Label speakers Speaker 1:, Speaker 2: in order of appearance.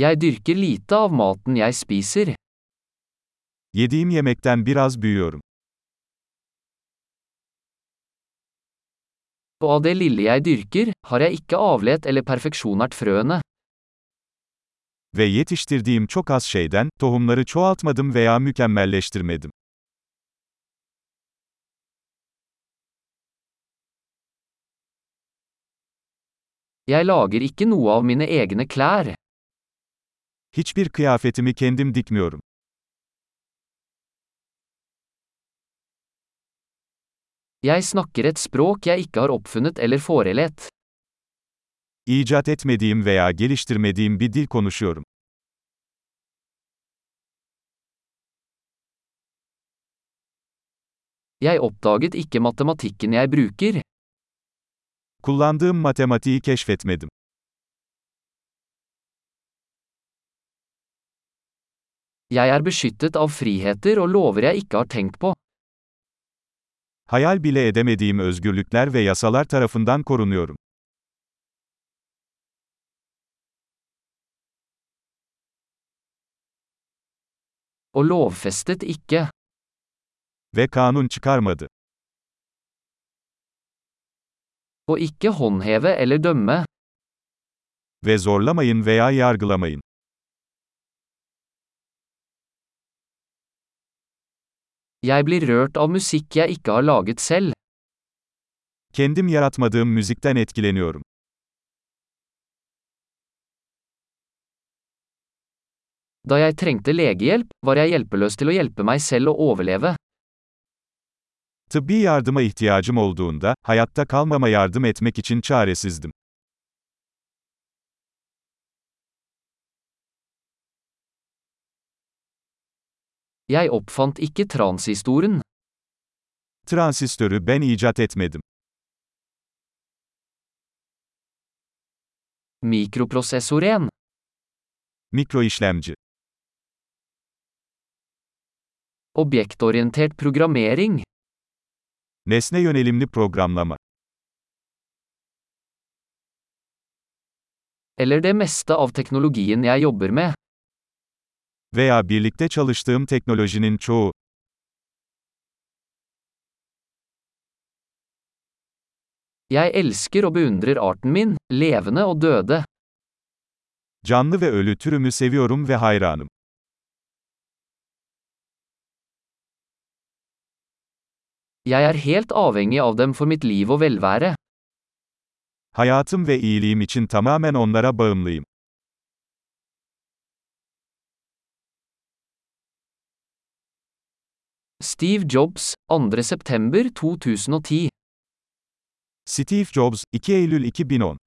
Speaker 1: Jeg dyrker lite av maten jeg spiser.
Speaker 2: Yediğim yemekten biraz büyüyorum.
Speaker 1: Og av det lille jeg dyrker, har jeg ikke avlet eller perfeksjonert frøene.
Speaker 2: Ve yetiştirdiğim çok az şeyden, tohumları çoğaltmadım veya mükemmelleştirmedim.
Speaker 1: Jeg lager ikke noe av mine egne klær.
Speaker 2: Hiçbir kıyafetimi kendim dikmiyorum.
Speaker 1: Jeg snakker et språk jeg ikke har oppfunnet eller forelett.
Speaker 2: İcat etmediğim veya geliştirmediğim bir dil konuşuyorum.
Speaker 1: Jeg oppdaget ikke matematikken jeg bruker.
Speaker 2: Kullandığım matematiği keşfetmedim.
Speaker 1: Jeg er beskyttet av friheter og lover jeg ikke har tenkt på.
Speaker 2: Hayal bile edemediğim özgürlükler ve yasalar tarafından korunuyorum.
Speaker 1: Og lovfestet ikke.
Speaker 2: Ve kanun çıkarmadı.
Speaker 1: Og ikke håndheve eller dømme.
Speaker 2: Ve zorlamayın veya yargılamayın.
Speaker 1: Jeg blir rørt av musikk jeg ikke har laget selv.
Speaker 2: Kendim yaratmadığım müzikten etkileniyorum.
Speaker 1: Da jeg trengte legehjelp, var jeg hjelpeløs til å hjelpe meg selv å overleve.
Speaker 2: Tıbbi yardıma ihtiyacım olduğunda, hayatta kalmama yardım etmek için çaresizdim.
Speaker 1: Jeg oppfant ikke transistoren.
Speaker 2: Transistörü ben icat etmedim.
Speaker 1: Mikroprosessoren.
Speaker 2: Mikroişlemci,
Speaker 1: Objektorientert programmering.
Speaker 2: nesne yönelimli programlama
Speaker 1: Eller det meste av teknologien jeg jobber med.
Speaker 2: veya birlikte çalıştığım teknolojinin çoğu
Speaker 1: Jeg elsker og beundrer arten min, levende og døde.
Speaker 2: canlı ve ölü türümü seviyorum ve hayranım.
Speaker 1: Jeg er helt avhengig av dem for mitt liv og velvære.
Speaker 2: Hayatım ve iyiliğim için tamamen onlara bağımlıyım.
Speaker 1: Steve Jobs, 2. september 2010.
Speaker 2: Steve Jobs, 2 Eylül 2010